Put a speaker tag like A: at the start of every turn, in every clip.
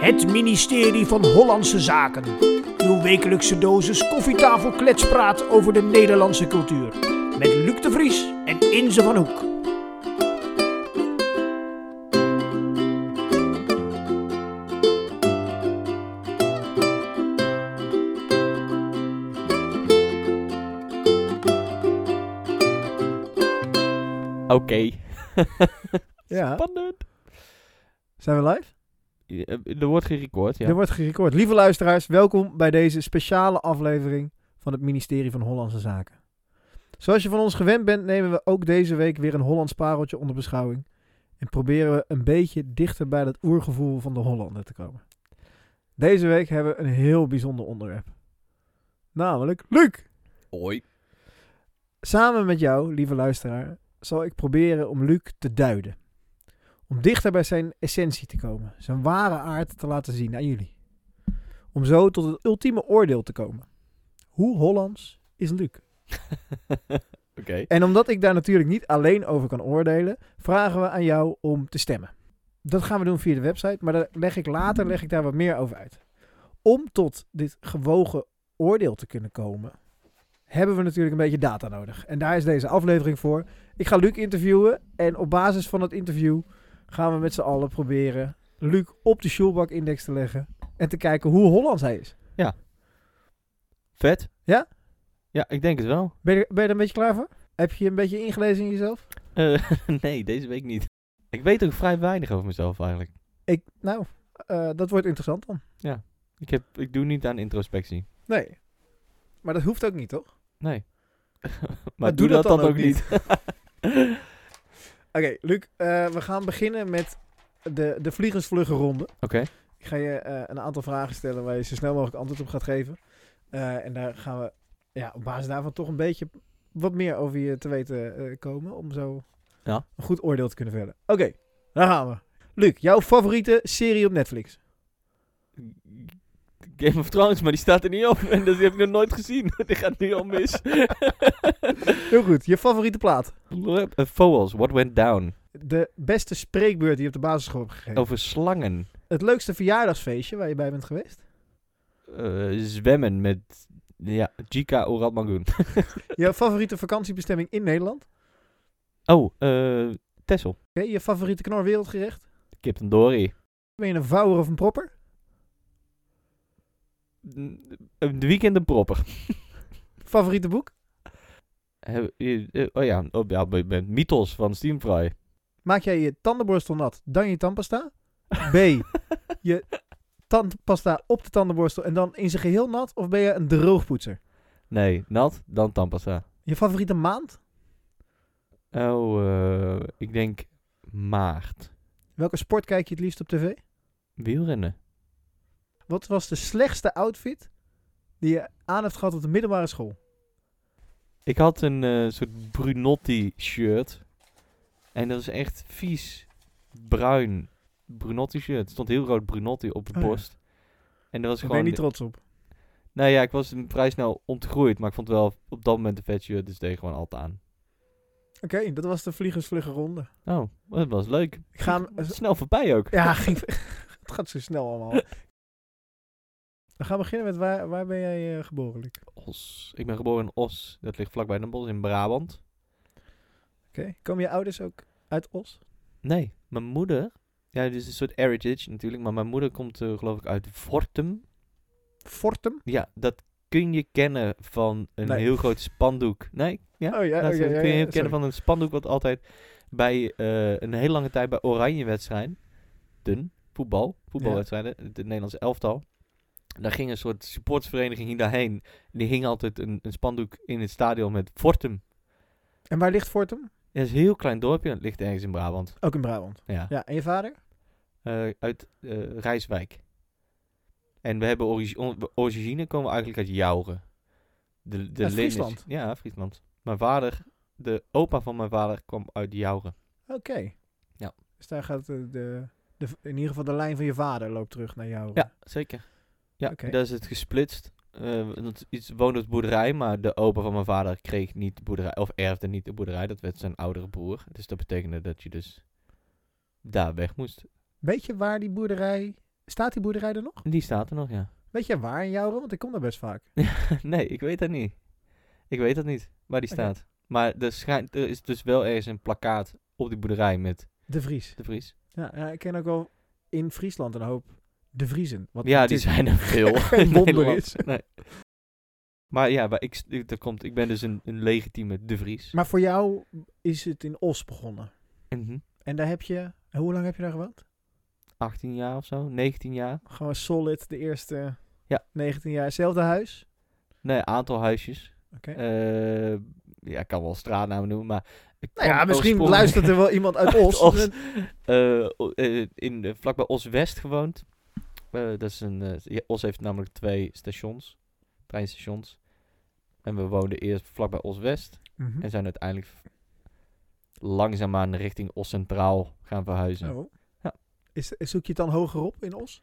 A: Het ministerie van Hollandse Zaken. Uw wekelijkse dosis koffietafel kletspraat over de Nederlandse cultuur. Met Luc de Vries en Inze van Hoek.
B: Oké.
C: Ja,
B: Spannend.
C: zijn we live?
B: Ja, Er wordt gerecord, ja.
C: Er wordt gerecord. Lieve luisteraars, welkom bij deze speciale aflevering van het ministerie van Hollandse Zaken. Zoals je van ons gewend bent, nemen we ook deze week weer een Hollands pareltje onder beschouwing. En proberen we een beetje dichter bij dat oergevoel van de Hollander te komen. Deze week hebben we een heel bijzonder onderwerp. Namelijk Luc!
B: Oi.
C: Samen met jou, lieve luisteraar, zal ik proberen om Luc te duiden. Om dichter bij zijn essentie te komen, zijn ware aard te laten zien aan jullie. Om zo tot het ultieme oordeel te komen. Hoe Hollands is Luc?
B: Oké.
C: En omdat ik daar natuurlijk niet alleen over kan oordelen, vragen we aan jou om te stemmen. Dat gaan we doen via de website, maar daar leg ik later leg ik daar wat meer over uit. Om tot dit gewogen oordeel te kunnen komen, hebben we natuurlijk een beetje data nodig. En daar is deze aflevering voor. Ik ga Luc interviewen en op basis van het interview gaan we met z'n allen proberen Luc op de Schulbach-index te leggen en te kijken hoe Hollands hij is.
B: Vet.
C: Ja?
B: Ja, ik denk het wel.
C: Ben je, ben je er een beetje klaar voor? Heb je een beetje ingelezen in jezelf?
B: Eh, nee, deze week niet. Ik weet ook vrij weinig over mezelf eigenlijk.
C: Ik, nou, eh, dat wordt interessant dan.
B: Ik, heb, ik doe niet aan introspectie.
C: Nee. Maar dat hoeft ook niet, toch?
B: Nee. maar, doe, dat, dan, ook niet.
C: Oké, Luc, eh, we gaan beginnen met de, de vliegensvlugge ronde.
B: Oké.
C: Ik ga je eh, een aantal vragen stellen waar je zo snel mogelijk antwoord op gaat geven. Eh, en daar gaan we ja, op basis daarvan toch een beetje wat meer over je te weten eh, komen. Om zo
B: Ja.
C: een goed oordeel te kunnen vellen. Oké, daar gaan we. Luc, jouw favoriete serie op Netflix?
B: Game of Thrones, maar die staat er niet op. En dat heb ik nog nooit gezien. die gaat nu al mis.
C: Heel goed, je favoriete plaat?
B: Eh, Foals, What Went Down.
C: De beste spreekbeurt die je op de basisschool hebt gegeven?
B: Over slangen.
C: Het leukste verjaardagsfeestje waar je bij bent geweest?
B: Eh, zwemmen met... Ja, Jika Oratmangoen.
C: Jouw favoriete vakantiebestemming in Nederland?
B: Oh, eh Tessel.
C: Oké, je favoriete knor wereldgerecht?
B: Kip Tandoori.
C: Ben je een vouwer of een propper?
B: Een weekend proper.
C: Favoriete boek?
B: Eh, eh, eh, Oh ja, oh, ja met- met Mythos van Steamfry.
C: Maak jij je tandenborstel nat, dan je tandpasta? B. Je tandpasta op de tandenborstel en dan in zijn geheel nat? Of ben je een droogpoetser?
B: Nee, nat, dan tandpasta.
C: Je favoriete maand?
B: Oh, eh, ik denk maart.
C: Welke sport kijk je het liefst op tv?
B: Wielrennen.
C: Wat was de slechtste outfit die je aan hebt gehad op de middelbare school?
B: Ik had een eh, soort Brunotti shirt. En dat is echt vies bruin Brunotti shirt. Er stond heel rood Brunotti op de
C: Oh ja.
B: borst. En dat was
C: Daar
B: gewoon...
C: ben je niet trots op.
B: nou ja, ik was hem vrij snel ontgroeid. Maar ik vond wel op dat moment een vet shirt. Dus deed gewoon altijd aan.
C: Oké, dat was de vliegensvlugge ronde.
B: Oh, dat was leuk.
C: Ik ga hem
B: Snel voorbij ook.
C: Ja, ging- het gaat zo snel allemaal. We gaan beginnen met waar, waar ben jij eh, geboren, Luc?
B: Os. Ik ben geboren in Os. Dat ligt vlakbij Den Bosch in Brabant.
C: Oké. Komen je ouders ook uit Os?
B: Nee, mijn moeder... Ja, dit is een soort heritage natuurlijk. Maar mijn moeder komt eh, geloof ik uit Vortum.
C: Fortum?
B: Ja, dat kun je kennen van een
C: Nee.
B: heel groot spandoek. Nee? Ja?
C: Oh ja,
B: dat
C: oké, ja,
B: kun je
C: ja,
B: heel kennen
C: sorry.
B: van een spandoek wat altijd bij eh, een hele lange tijd bij oranje wedstrijden... voetbal, voetbalwedstrijden, het Nederlandse elftal. Daar ging een soort supportsvereniging hier daarheen. Die hing altijd een, een spandoek in het stadion met Fortum.
C: En waar ligt Fortum?
B: Ja, het is een heel klein dorpje. en Het ligt ergens in Brabant.
C: Ook in Brabant.
B: Ja.
C: Ja, en je vader?
B: Eh, uit eh, Rijswijk. En we hebben origi- on- we- origine komen we eigenlijk uit Jouren. De, de lineage-
C: Friesland?
B: Ja, Friesland. Mijn vader, de opa van mijn vader kwam uit Jouren.
C: Oké.
B: Ja.
C: Dus daar gaat de, de, de, in ieder geval de lijn van je vader loopt terug naar jou.
B: Ja, zeker. Ja,
C: Oké.
B: daar is het gesplitst. Eh, want iets woonde op de boerderij, maar de opa van mijn vader kreeg niet de boerderij, of erfde niet de boerderij. Dat werd zijn oudere broer. Dus dat betekende dat je dus daar weg moest.
C: Weet je waar die boerderij Staat die boerderij er nog?
B: Die staat er nog, ja.
C: Weet jij waar in Jouren? Want ik kom daar best vaak.
B: nee, ik weet dat niet. Ik weet dat niet, waar die
C: Oké.
B: staat. Maar er, schijnt, er is dus wel ergens een plakkaat op die boerderij met
C: De Vries.
B: de Vries.
C: Ja, ja, ik ken ook wel in Friesland een hoop De Vriezen. Wat
B: ja, die zijn
C: natuurlijk
B: er veel.
C: geen
B: in
C: wonder
B: Nederland.
C: is.
B: Nee. Maar ja, maar ik, ik- er komt, ik ben dus een, een legitieme De Vries.
C: Maar voor jou is het in Os begonnen.
B: Mhm.
C: En daar heb je... en Hoe lang heb je daar gewoond?
B: 18 jaar of zo, 19 jaar.
C: Gewoon solid de eerste
B: Ja.
C: 19 jaar. Hetzelfde huis?
B: Nee, aantal huisjes.
C: Oké.
B: Eh, ja, ik kan wel straatnamen noemen, maar... ik
C: nou ja,
B: kwam
C: misschien
B: oorspronkelijk-
C: luistert er wel iemand uit Os.
B: Os. Eh, o- eh, in, eh, vlakbij Os West gewoond. Eh, dat is een, eh, ja, Os heeft namelijk twee stations, treinstations. En we woonden eerst vlakbij Os West
C: Mhm.
B: en zijn uiteindelijk v- langzaamaan richting Os Centraal gaan verhuizen.
C: Oh.
B: Ja.
C: Is, zoek je het dan hogerop in Os?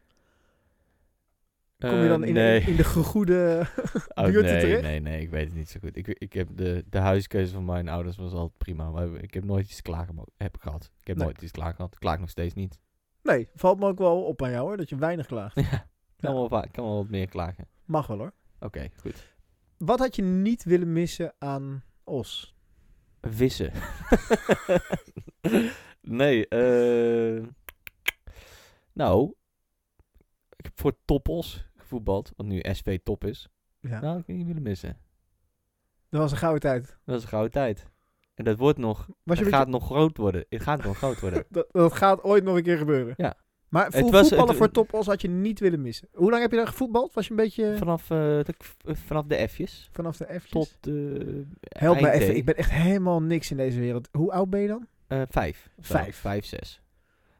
C: Kom je
B: Eh,
C: dan in,
B: nee.
C: in, in de gegoede...
B: Oh,
C: buurt
B: nee,
C: terecht?
B: nee, nee, ik weet het niet zo goed. Ik, ik heb de, de huiskeuze van mijn ouders was altijd prima. Maar ik heb nooit iets klaar gemo- heb gehad. Ik heb
C: Nee.
B: nooit iets klaar gehad. Ik klaag nog steeds niet.
C: Nee, valt me ook wel op aan jou hoor, dat je weinig klaagt.
B: Ja, kan,
C: Ja.
B: wel va- kan wel wat meer klagen.
C: Mag wel hoor.
B: Oké, goed.
C: Wat had je niet willen missen aan Os?
B: Vissen. nee, eh, nou, ik heb voor Toppos gevoetbald, wat nu SV Top is.
C: Ja.
B: Nou, ik niet willen missen.
C: Dat was een gouden tijd.
B: Dat is een gouden tijd. En dat wordt nog,
C: Was je
B: het
C: een
B: gaat nog groot worden. Het gaat nog groot worden.
C: beetje- dat, dat gaat ooit nog een keer gebeuren.
B: Ja.
C: Maar vo-
B: Het was-
C: voetballen
B: het-
C: voor Top Os had je niet willen missen. Hoe lang heb je daar gevoetbald? Was je een beetje
B: Vanaf, eh, de, k- eh, vanaf de F'jes
C: vanaf de F's?
B: tot eh, de.
C: Help me even, ik ben echt helemaal niks in deze wereld. Hoe oud ben je dan?
B: Eh, vijf. of zo.
C: Vijf.
B: Vijf, zes.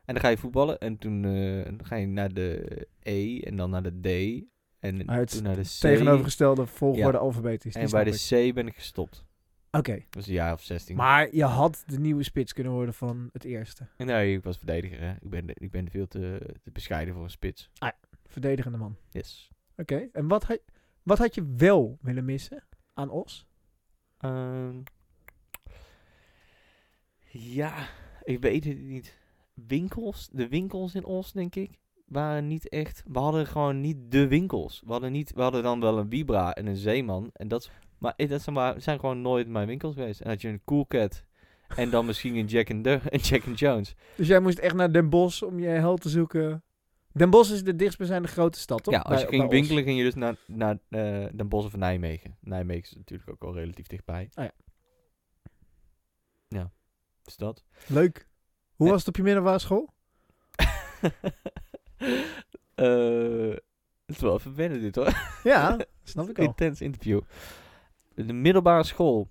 B: En dan ga je voetballen en toen eh, dan ga je naar de E en dan naar de D en
C: Maar het
B: toen naar de C.
C: Tegenovergestelde volgorde
B: Ja.
C: alfabetisch. die
B: En bij
C: snap
B: de
C: ik.
B: C ben ik gestopt.
C: Oké,
B: Dat was een jaar of 16.
C: maar je had de nieuwe spits kunnen worden van het eerste.
B: Nee, ik was verdediger. Hè. Ik, ben, ik ben veel te, te bescheiden voor een spits.
C: Verdedigende man.
B: Yes.
C: Oké, en wat had, wat had je wel willen missen aan Os?
B: Ehm, ja, ik weet het niet. Winkels, de winkels in ons, denk ik, waren niet echt. We hadden gewoon niet de winkels. We hadden, niet, we hadden dan wel een Vibra en een Zeeman. En dat, is- maar eh, dat zijn, maar, zijn gewoon nooit mijn winkels geweest. En had je een Cool Cat en dan misschien een Jack and, Dur- een Jack and Jones.
C: Dus jij moest echt naar Den Bosch om je held te zoeken. Den Bosch is de dichtstbijzijnde grote stad, toch?
B: Ja, als je
C: Bij- bij
B: ging
C: Os.
B: winkelen, ging je dus naar, naar eh, Den Bosch of Nijmegen. Nijmegen is natuurlijk ook al relatief dichtbij.
C: Ah ja.
B: Ja, is dat.
C: Leuk. Hoe
B: Ja.
C: was het op je middelbare school?
B: Eh, het is wel vervelend dit hoor.
C: Ja, snap ik al.
B: Intens interview. De middelbare school.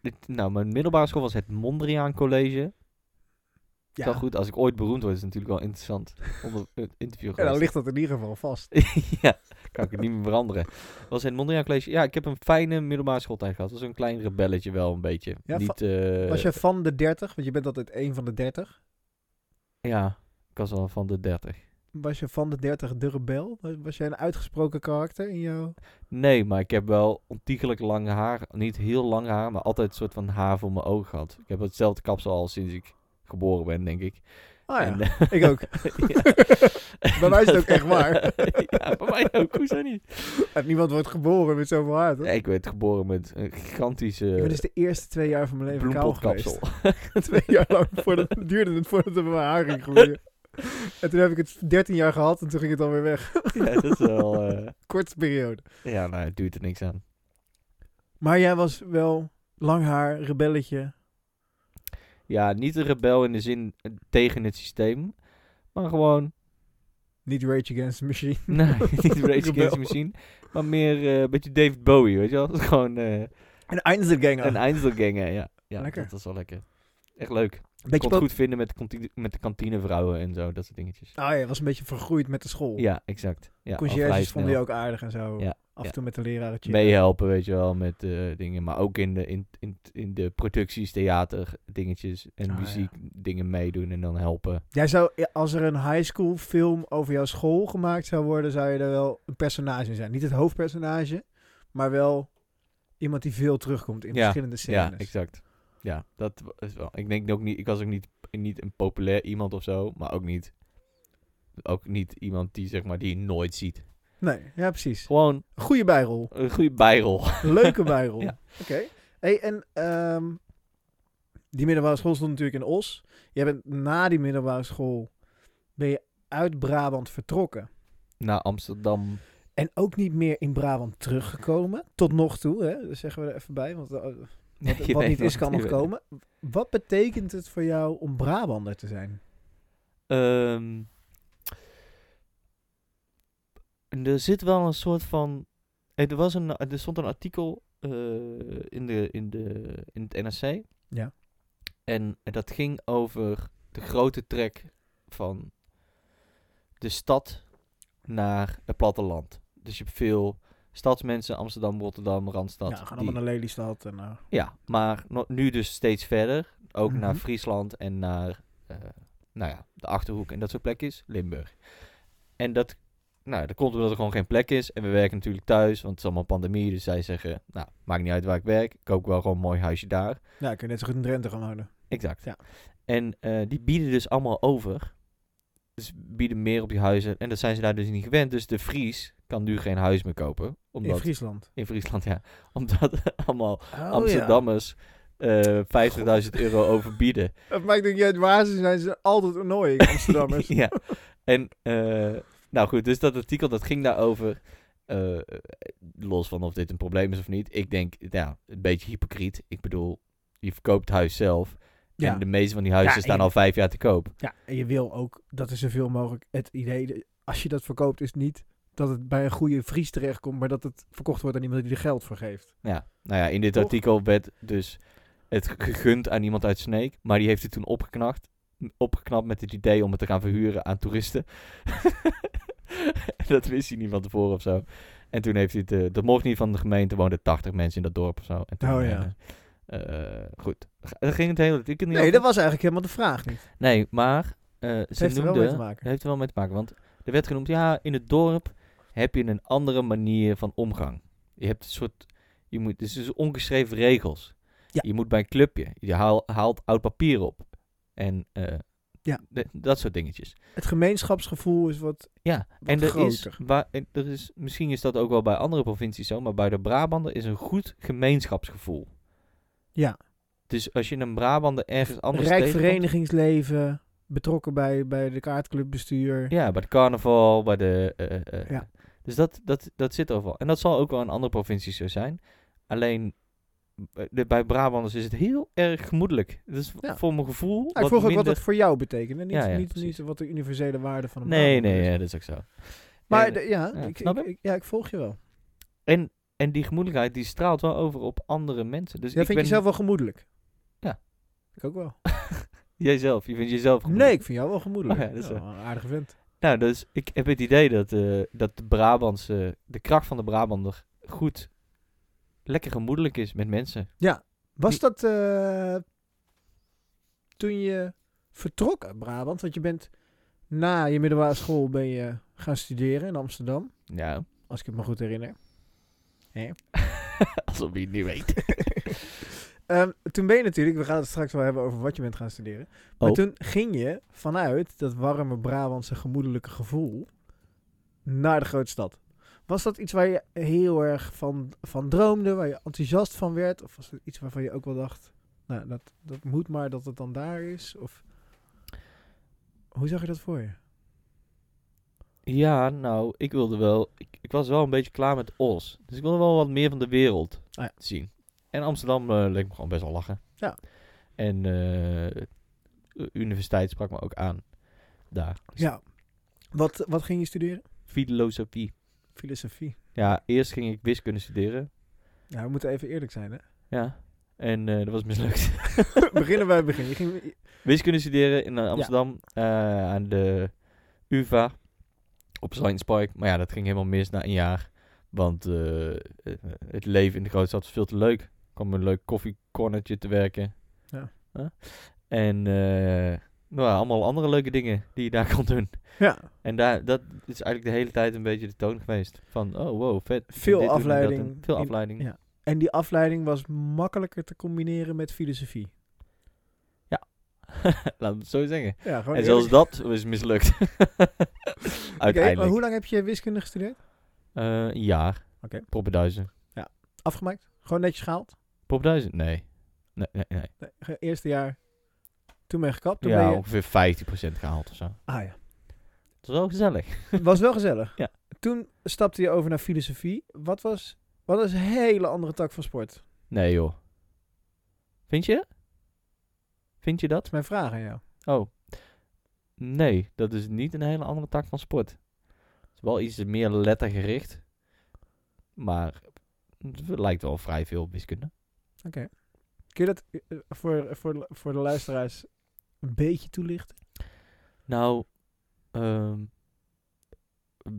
B: Dit- nou, mijn middelbare school was het Mondriaan College.
C: Ja,
B: Wel goed, als ik ooit beroemd word, is het natuurlijk wel interessant. Onder het interview
C: En dan
B: geweest.
C: nou ligt dat in ieder geval vast.
B: ja, kan ik het niet meer veranderen. Was het Mondriaan College. Ja, ik heb een fijne middelbare schooltijd gehad. Dat was een klein rebelletje wel een beetje.
C: Ja,
B: niet, eh,
C: Was je van de 30, want je bent altijd één van de 30.
B: Ja, ik was al van de 30.
C: Was je van de 30 de rebel? Was- Was jij een uitgesproken karakter in jouw...
B: Nee, maar ik heb wel ontiegelijk lang haar. Niet heel lang haar, maar altijd een soort van haar voor mijn ogen gehad. Ik heb hetzelfde kapsel al sinds ik geboren ben, denk ik.
C: Ah ja,
B: En, eh,
C: ik ook. Bij mij is het ook echt waar.
B: ja, bij mij ook. Hoezo niet?
C: En niemand wordt geboren met zoveel haar, toch?
B: Nee, ik werd geboren met een gigantische
C: Ik ben dus de eerste twee jaar van mijn leven kaal geweest.
B: bloempotkapsel.
C: twee jaar lang voordat, duurde het voordat het bij mijn haar ging groeien. En toen heb ik het 13 jaar gehad en toen ging het alweer weg.
B: ja, dat is wel... eh,
C: Korte periode.
B: ja, nou, het doet er niks aan.
C: Maar jij was wel lang haar, rebelletje.
B: Ja, niet een rebel in de zin eh, tegen het systeem. Maar gewoon,
C: Niet Rage Against the Machine.
B: nee, niet Rage Against
C: Rebel.
B: the Machine. Maar meer eh, een beetje David Bowie, weet je wel? Gewoon... eh,
C: En Einzelganger.
B: Een Einzelgänger, ja. ja
C: Lekker.
B: Dat is wel lekker. Echt leuk. Ik
C: beetje
B: kon
C: po-
B: het goed vinden met de, kanti- met de kantinevrouwen en zo, dat soort dingetjes.
C: Oh ja, was een beetje vergroeid met de school.
B: Ja, exact. Ja, al vrij
C: Conciërges vonden je
B: snel.
C: ook aardig en zo.
B: Ja,
C: Af
B: ja.
C: en toe met de leraren. chillen.
B: Meehelpen, weet je wel, met eh, dingen. Maar ook in de, in, in, in de producties, theater, dingetjes en
C: Ah, ja.
B: muziek, dingen meedoen en dan helpen.
C: Jij zou, ja, als er een high school film over jouw school gemaakt zou worden, zou je er wel een personage in zijn. Niet het hoofdpersonage, maar wel iemand die veel terugkomt in
B: Ja,
C: verschillende scènes.
B: Ja, exact. Ja, dat wa- is wel. Ik denk ook niet, ik was ook niet, niet een populair iemand of zo, maar ook niet ook niet iemand die, zeg maar, die je nooit ziet.
C: Nee, ja, precies.
B: Gewoon
C: Goede bijrol.
B: een goede bijrol.
C: Leuke bijrol.
B: Ja.
C: Oké. Hey, en ehm, die middelbare school stond natuurlijk in Os. Jij bent na die middelbare school ben je uit Brabant vertrokken.
B: Naar Amsterdam.
C: En ook niet meer in Brabant teruggekomen. Tot nog toe, hè? Dat zeggen we er even bij. Want eh, wat- wat,
B: Je weet
C: niet
B: nooit,
C: is, kan
B: je
C: nog
B: weet nooit.
C: komen. Wat betekent het voor jou om Brabander te zijn?
B: Ehm, er zit wel een soort van. eh, Er, was een, er stond een artikel eh, in, de, in, de, in het NRC.
C: Ja.
B: En dat ging over de grote trek van de stad naar het platteland. Dus je hebt veel stadsmensen, Amsterdam, Rotterdam, Randstad.
C: ja, Nou, we gaan
B: die-
C: allemaal naar Lelystad. En, eh,
B: ja, maar no- nu dus steeds verder. Ook
C: Mhm.
B: naar Friesland en naar eh, nou ja, de Achterhoek en dat soort plekjes. Limburg. En dat, nou, dat komt omdat er gewoon geen plek is. En we werken natuurlijk thuis, want het is allemaal pandemie. Dus zij zeggen, nou, maakt niet uit waar ik werk. Ik koop wel gewoon een mooi huisje daar.
C: ja, kun je net zo goed in Drenthe gaan wonen.
B: Exact.
C: Ja.
B: En eh, die bieden dus allemaal over. Dus bieden meer op die huizen. En dat zijn ze daar dus niet gewend. Dus de Fries kan nu geen huis meer kopen. Omdat,
C: In Friesland.
B: in Friesland, ja. Omdat allemaal
C: Oh, ja.
B: Amsterdammers eh 50.000 euro overbieden.
C: Het maakt ook niet uit waar ze zijn. Ze zijn altijd annoying, Amsterdammers.
B: ja. En, eh, nou goed, dus dat artikel dat ging daarover. eh, los van of dit een probleem is of niet. Ik denk, ja, een beetje hypocriet. Ik bedoel, je verkoopt het huis zelf.
C: ja.
B: En de meeste van die huizen
C: Ja, en
B: staan
C: je-
B: al vijf jaar te koop.
C: ja, en je wil ook dat er zoveel mogelijk het idee... de- Als je dat verkoopt is niet dat het bij een goede Fries terechtkomt... maar dat het verkocht wordt aan iemand die er geld voor geeft.
B: Ja, nou ja, in dit
C: Toch?
B: artikel werd dus het gegund aan iemand uit Sneek. Maar die heeft het toen opgeknapt, opgeknapt met het idee om het te gaan verhuren aan toeristen. En dat wist hij niet van tevoren of zo. En toen heeft hij het, eh, dat mocht niet van de gemeente, woonden 80 mensen in dat dorp of zo. En toen,
C: Oh ja.
B: eh, eh, goed, daar ging het hele artikel niet
C: Nee,
B: over.
C: dat was eigenlijk helemaal de vraag niet.
B: Nee, maar eh ze
C: heeft er wel
B: noemde-
C: mee te maken.
B: Dat heeft er wel mee te maken. Want er werd genoemd, ja, in het dorp heb je een andere manier van omgang. Je hebt een soort, je moet, dus is ongeschreven regels.
C: Ja.
B: Je moet bij een clubje, je haal- haalt oud papier op. En eh,
C: Ja.
B: d- dat soort dingetjes.
C: Het gemeenschapsgevoel is wat...
B: Ja,
C: Wat
B: en er is,
C: groter.
B: waar, en er is, misschien is dat ook wel bij andere provincies zo, maar bij de Brabander is een goed gemeenschapsgevoel.
C: Ja.
B: Dus als je een Brabander ergens anders
C: Rijk
B: tegenkomt-
C: verenigingsleven, betrokken bij, bij de kaartclubbestuur.
B: Ja, bij de carnaval, bij de... eh, eh,
C: Ja.
B: Dus dat, dat, dat zit overal. En dat zal ook wel in andere provincies zo zijn. Alleen eh, de- bij Brabanders is het heel erg gemoedelijk. Dus
C: Ja.
B: voor mijn gevoel
C: Ah, ik
B: wat
C: vroeg ook
B: minder...
C: wat het voor jou betekende. Niet,
B: Ja, ja,
C: niet, niet
B: precies.
C: wat de universele waarde van een
B: Nee,
C: Brabander
B: nee,
C: is.
B: ja, dat is ook zo.
C: Maar
B: En-
C: de- ja,
B: ja,
C: ik,
B: snap
C: ik-
B: je?
C: ik- ja, ik volg je wel.
B: En, en die gemoedelijkheid die straalt wel over op andere mensen. Dus
C: Jij
B: ik
C: vindt
B: ben...
C: jezelf wel gemoedelijk?
B: Ja.
C: Ik ook wel.
B: Jijzelf, je vindt jezelf gemoedelijk.
C: Nee, ik vind jou wel gemoedelijk.
B: Oh ja, dat is
C: Ja, een aardige vent.
B: Nou, dus ik heb het idee dat, eh, dat de Brabantse, de kracht van de Brabander goed, lekker gemoedelijk is met mensen.
C: Was dat eh, toen je vertrok uit Brabant? Want je bent na je middelbare school ben je gaan studeren in Amsterdam.
B: Ja.
C: Als ik het me goed herinner.
B: Alsof je het niet weet.
C: Ehm, toen ben je natuurlijk, we gaan het straks wel hebben over wat je bent gaan studeren. Maar
B: Oh.
C: toen ging je vanuit dat warme Brabantse gemoedelijke gevoel naar de grote stad. Was dat iets waar je heel erg van, van droomde, waar je enthousiast van werd? Of was het iets waarvan je ook wel dacht, nou, dat, dat moet maar dat het dan daar is? Of hoe zag je dat voor je?
B: Ja, nou, ik wilde wel. Ik, ik was wel een beetje klaar met Os. Dus ik wilde wel wat meer van de wereld
C: Ah ja.
B: zien. En Amsterdam eh, leek me gewoon best wel lachen.
C: Ja.
B: En eh, de universiteit sprak me ook aan. Daar.
C: Ja. Wat, wat ging je studeren?
B: Filosofie.
C: Filosofie.
B: Ja, eerst ging ik wiskunde studeren.
C: Ja, Nou, we moeten even eerlijk zijn, hè?
B: Ja. En eh, dat was mislukt.
C: Beginnen bij het begin. Je ging,
B: wiskunde studeren in eh, Amsterdam eh, aan de UVA op Science Park. Maar ja, dat ging helemaal mis na een jaar. Want eh, eh, het leven in de grote stad was veel te leuk. Ik kwam een leuk koffiecornertje te werken.
C: Ja.
B: Huh? En eh, nou, ja, allemaal andere leuke dingen die je daar kon doen.
C: ja,
B: En daar, dat is eigenlijk de hele tijd een beetje de toon geweest. Van, oh wow, vet.
C: Veel
B: Dit doen en dat
C: afleiding
B: en Veel
C: in-
B: afleiding.
C: ja. En die afleiding was makkelijker te combineren met filosofie.
B: Laten we het zo zeggen.
C: Ja, gewoon
B: en zelfs
C: eerlijk.
B: dat is mislukt.
C: Oké, maar
B: uiteindelijk.
C: hoe lang heb je wiskunde gestudeerd?
B: Eh, een jaar.
C: Oké.
B: Poppenduizen.
C: Afgemaakt? Gewoon netjes gehaald?
B: Poppenduizen? Nee. Nee, nee, nee.
C: Nee, ge- eerste jaar. Toen ben je gekapt. Toen
B: Ja,
C: ben je...
B: ongeveer 15% gehaald of zo.
C: Ah ja.
B: Dat is wel gezellig.
C: Was wel gezellig.
B: Ja.
C: Toen stapte je over naar filosofie. Wat was... Wat is een hele andere tak van sport? Dat
B: Nee joh. Vind je? Vind je dat?
C: is mijn vraag aan jou.
B: Oh. Nee, dat is niet een hele andere tak van sport. Het is wel iets meer lettergericht. Maar het lijkt wel vrij veel op wiskunde.
C: Kun je dat eh, voor, voor, de- voor de luisteraars een beetje toelichten?
B: Nou, ehm,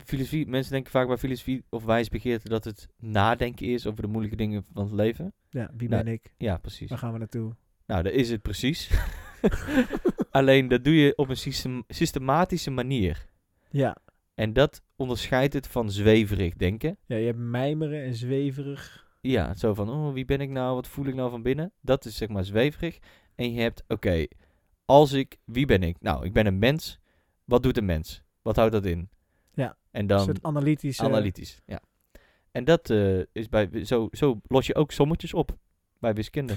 B: filosofie, mensen denken vaak bij filosofie of wijsbegeerte dat het nadenken is over de moeilijke dingen van het leven.
C: Ja, wie
B: Nou,
C: ben ik?
B: Ja, precies.
C: Waar gaan we naartoe?
B: Nou, dat is het precies. Alleen dat doe je op een system- systematische manier.
C: Ja.
B: En dat onderscheidt het van zweverig denken.
C: ja, je hebt mijmeren en zweverig.
B: Ja, zo van, oh, wie ben ik nou? Wat voel ik nou van binnen? Dat is zeg maar zweverig. En je hebt, oké, als ik, wie ben ik? Nou, ik ben een mens. Wat doet een mens? Wat houdt dat in?
C: Ja, dus
B: En
C: een
B: dan
C: soort analytische...
B: Analytisch, ja. En dat eh, is bij, zo, zo los je ook sommetjes op bij wiskunde.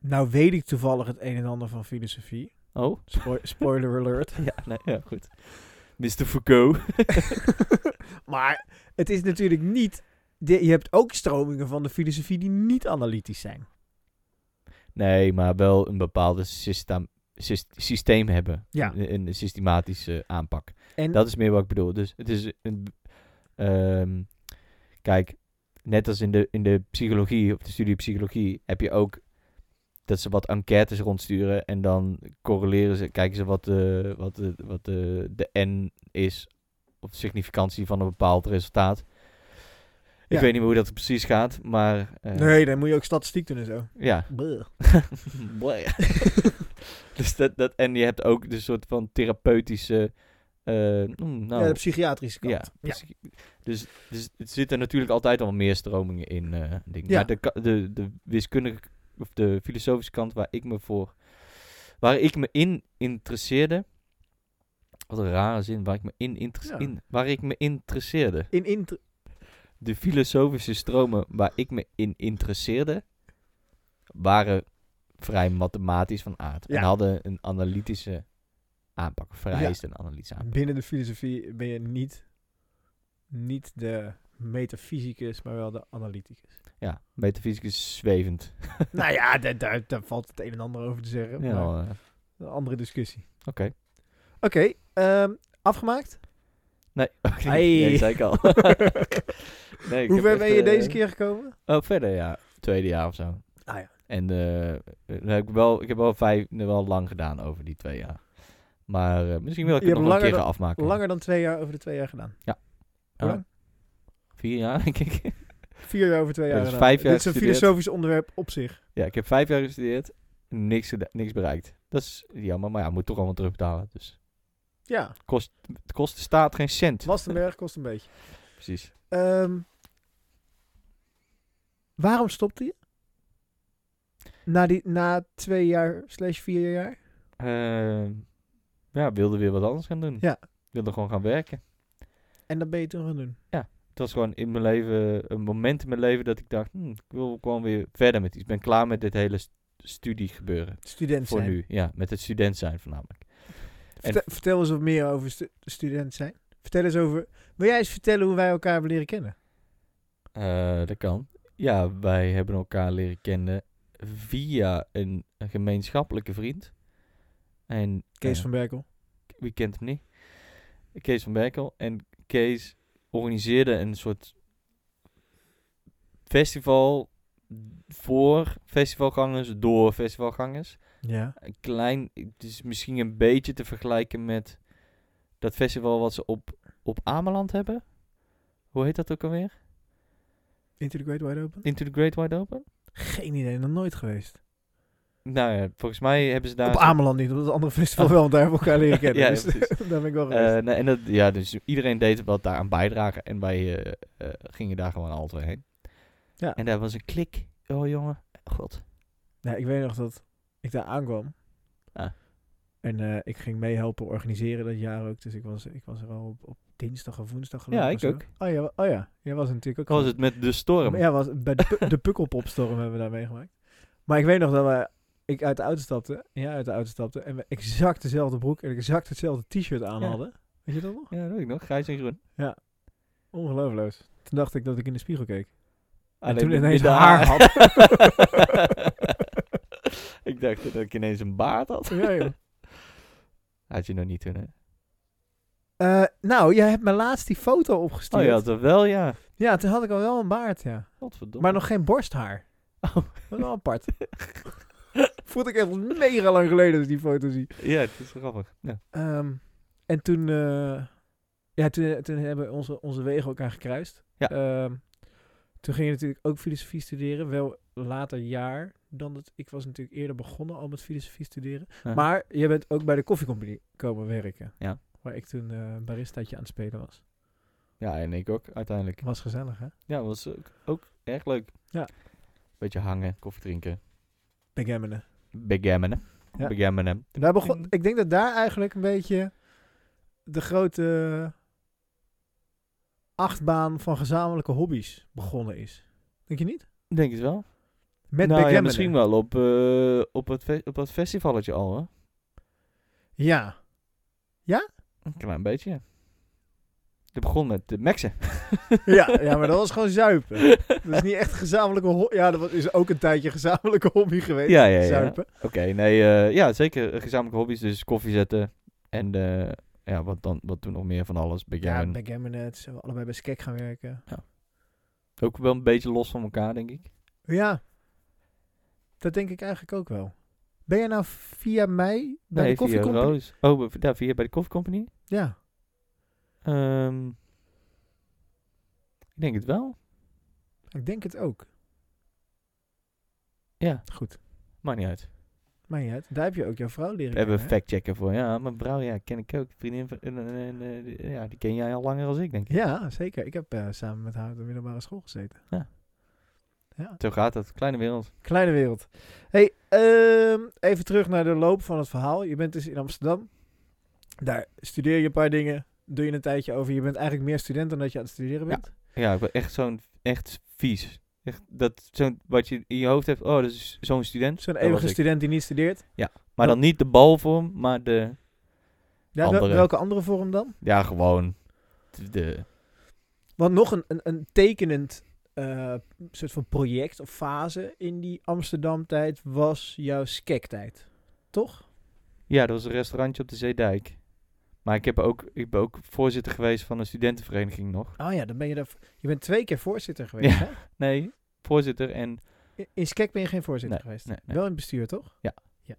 C: Nou weet ik toevallig het een en ander van filosofie.
B: Oh,
C: Spo- spoiler alert.
B: ja, nee, ja, goed. Mr. Foucault.
C: maar het is natuurlijk niet... de- je hebt ook stromingen van de filosofie die niet analytisch zijn.
B: Nee, maar wel een bepaalde systeem, sys- systeem hebben.
C: Ja.
B: Een, een systematische aanpak.
C: En
B: Dat is meer wat ik bedoel. Dus het is een... ehm, kijk, net als in de, in de psychologie, of de studie psychologie, heb je ook dat ze wat enquêtes rondsturen en dan correleren ze, kijken ze wat, eh, wat, eh, wat eh, de N is, of de significantie van een bepaald resultaat. Ik
C: Ja.
B: weet niet meer hoe dat precies gaat, maar... eh,
C: Nee, dan moet je ook statistiek doen en zo.
B: Ja.
C: Bleh.
B: dus dat, dat, en je hebt ook de soort van therapeutische... eh, mm, nou,
C: Ja, de psychiatrische kant.
B: ja, precies. Dus, dus het zitten natuurlijk altijd al meer stromingen in. eh dingen.
C: Ja.
B: Maar de, ka- de, de wiskundige of de filosofische kant waar ik me voor. Waar ik me in interesseerde. Wat een rare zin. Waar ik me in, inter-
C: Ja.
B: in waar ik me interesseerde.
C: In inter-
B: De filosofische stromen waar ik me in interesseerde. waren vrij mathematisch van aard.
C: Ja.
B: En hadden een analytische aanpak. Vereist een analytische aanpak.
C: binnen de filosofie ben je niet, niet de metafysicus, maar wel de analyticus.
B: Ja, metafysicus zwevend.
C: nou ja, daar, daar, daar valt het een en ander over te zeggen.
B: Ja,
C: maar
B: eh, oké.
C: Een andere discussie. Oké, ehm, afgemaakt.
B: Nee, oké,
C: Hey.
B: nee, zei ik al. nee, ik
C: Hoe
B: heb
C: ver
B: echt,
C: ben je
B: eh,
C: deze keer gekomen?
B: Oh, verder ja. Tweede jaar of zo.
C: Ah ja.
B: En eh, eh, nou, ik, heb wel, ik heb wel vijf, nou, wel lang gedaan over die twee jaar. Maar eh, misschien wil ik
C: Je
B: het nog
C: hebt
B: een
C: langer
B: keer
C: dan-
B: gaan afmaken.
C: Langer dan twee jaar over de twee jaar gedaan.
B: Ja. Ja.
C: Hoe lang?
B: Vier jaar, denk ik.
C: Vier jaar over twee
B: Ja,
C: jaar.
B: dus
C: gedaan.
B: vijf jaar
C: Dit is een
B: gestudeerd.
C: filosofisch onderwerp op zich.
B: Ja, ik heb vijf jaar gestudeerd. Niks, geda- niks bereikt. Dat is jammer, maar ja, moet toch allemaal terugbetalen. Dus
C: Ja,
B: het kost de staat geen cent.
C: Wastenberg kost een beetje.
B: Precies.
C: Ehm, waarom stopte je? Na, die, na twee jaar slash vier jaar?
B: Eh, ja, wilde weer wat anders gaan doen.
C: Ja.
B: Wilde gewoon gaan werken.
C: En dat ben je toen gaan doen.
B: het was gewoon in mijn leven een moment in mijn leven dat ik dacht, hm, ik wil gewoon weer verder met iets. Ik ben klaar met dit hele st- studie gebeuren.
C: Student
B: Voor
C: zijn.
B: nu, ja, met het student zijn voornamelijk.
C: Vertel, vertel eens wat meer over stu- student zijn. Vertel eens over... Wil jij eens vertellen hoe wij elkaar hebben leren kennen?
B: Eh, dat kan. Ja, wij hebben elkaar leren kennen via een, een gemeenschappelijke vriend. En
C: Kees
B: eh,
C: van Berkel.
B: wie kent hem niet? Kees van Berkel. En Kees organiseerde een soort festival voor festivalgangers, door festivalgangers.
C: Ja.
B: een klein, het is misschien een beetje te vergelijken met dat festival wat ze op, op Ameland hebben. Hoe heet dat ook alweer?
C: Into the Great Wide Open?
B: Into the Great Wide Open?
C: Geen idee, nog nooit geweest.
B: Nou ja, volgens mij hebben ze daar...
C: Op
B: zo- Oh.
C: Ameland niet, op het andere festival wel, want daar hebben we elkaar leren kennen.
B: Ja,
C: dus
B: ja, precies.
C: daar ben ik wel
B: Eh,
C: geweest.
B: nee, en dat, ja, dus iedereen deed wat daaraan bijdragen en wij eh, eh, gingen daar gewoon altijd heen.
C: Ja.
B: En daar was een klik. Oh jongen, god.
C: Nou, ik weet nog dat ik daar aankwam.
B: Ah.
C: En eh, ik ging meehelpen organiseren dat jaar ook. Dus ik was, ik was er al op, op dinsdag of woensdag geloof
B: Ja,
C: of
B: ik
C: zo.
B: ook.
C: Oh ja, wa- oh ja, jij was er natuurlijk ook.
B: was het met de storm.
C: Ja, was, bij de, pu- de Pukkelpopstorm hebben we daar meegemaakt. Maar ik weet nog dat we, ik uit de auto stapte. Ja, uit de auto stapte. En we exact dezelfde broek en exact hetzelfde t-shirt aan
B: Ja.
C: hadden. Weet je dat nog?
B: Ja, dat weet ik nog. Grijs en groen.
C: Ongelooflijk. Toen dacht ik dat ik in de spiegel keek.
B: Alleen
C: toen
B: de-
C: ineens
B: de
C: haar had.
B: ik dacht dat ik ineens een baard had.
C: Oh, Ja, joh.
B: Had je nog niet toen, hè?
C: Eh, nou, jij hebt me laatst die foto
B: Oh,
C: opgestuurd.
B: je had er wel, ja.
C: Ja, toen had ik al wel een baard, ja.
B: Godverdomme.
C: Maar nog geen borsthaar.
B: Oh.
C: Dat is wel apart. Voelde ik echt mega lang geleden als ik die foto zie.
B: Ja, het is grappig. Ja.
C: Ehm, en toen, eh, ja, toen, toen hebben onze, onze wegen elkaar gekruist.
B: Ja.
C: Ehm, toen ging je natuurlijk ook filosofie studeren. Wel later jaar dan dat. Ik was natuurlijk eerder begonnen al met filosofie studeren.
B: Ja.
C: Maar je bent ook bij de koffiecompagnie komen werken.
B: Ja.
C: Waar ik toen eh baristaatje aan het spelen was.
B: ja, en ik ook uiteindelijk.
C: Was gezellig, hè?
B: Ja, was ook, ook erg leuk.
C: Ja.
B: Beetje hangen, koffie drinken.
C: Begammenen.
B: Begammenen.
C: Ja.
B: Begammenen.
C: Daar begon, ik denk dat daar eigenlijk een beetje de grote achtbaan van gezamenlijke hobby's begonnen is. Denk je niet?
B: Denk het wel.
C: Met
B: nou, ja,
C: backgammon.
B: misschien wel op, eh, op, het fe- op dat festivalletje al, hè?
C: Ja. Hm.
B: Een klein beetje, ja. Je begon met de Maxen.
C: Ja, ja, maar dat was Dus- gewoon zuipen. Dat is niet echt gezamenlijke hobby. Ja, dat was- is ook een tijdje gezamenlijke hobby geweest.
B: Ja, ja, ja.
C: Zuipen.
B: Oké, nee, eh, ja, zeker. eh, Gezamenlijke hobby's, dus koffie zetten. En eh, ja, wat, dan, wat toen nog meer van alles.
C: Ja,
B: Begammon.
C: backgammon. eh, toen zijn we allebei bij Skek gaan werken.
B: ook wel een beetje los van elkaar, denk ik.
C: Ja. Dat denk ik eigenlijk ook wel. Ben je nou via mij
B: nee,
C: bij de
B: via
C: koffiecompany?
B: Roos. Oh, be- ja, via bij de Coffee Company.
C: Ja.
B: Ehm, ik denk het wel.
C: Ik denk het ook.
B: Ja.
C: Goed.
B: Maakt niet uit.
C: Maar ja, daar heb je ook jouw vrouw leren
B: We hebben een
C: kennen, hè?
B: factchecker voor. Ja, maar Brouw, ja, ken ik ook. Vriendin van, en, en- en, eh, die- ja, die ken jij al langer als ik, denk ik.
C: Ja, zeker. Ik heb eh, samen met haar op de middelbare school gezeten.
B: Ja.
C: Ja,
B: Zo gaat dat. Kleine wereld.
C: kleine wereld. hey, ehm, even terug naar de loop van het verhaal. Je bent dus in Amsterdam. Daar studeer je een paar dingen. Doe je een tijdje over. Je bent eigenlijk meer student dan dat je aan het studeren
B: Ja.
C: bent.
B: Ja, ik ben echt zo'n, echt vies. Echt, dat zo'n, wat je in je hoofd hebt, oh, dat is zo'n student.
C: Zo'n
B: Dat was
C: eeuwige
B: ik.
C: student die niet studeert.
B: Maar dan niet de balvorm, maar de...
C: Ja, wel-
B: Andere.
C: welke andere vorm dan?
B: Ja, gewoon. De, de-
C: Want nog een, een, een tekenend eh, soort van project of fase in die Amsterdam-tijd was jouw skek-tijd. Toch?
B: ja, dat was een restaurantje op de Zeedijk. Maar ik, heb ook, ik ben ook voorzitter geweest van een studentenvereniging nog.
C: Oh ja, dan ben je daar. Je bent twee keer voorzitter geweest.
B: Ja.
C: Hè?
B: Nee, voorzitter en...
C: In- In skek ben je geen voorzitter
B: Nee,
C: geweest.
B: nee, nee.
C: Wel in bestuur, toch?
B: Ja.
C: ja.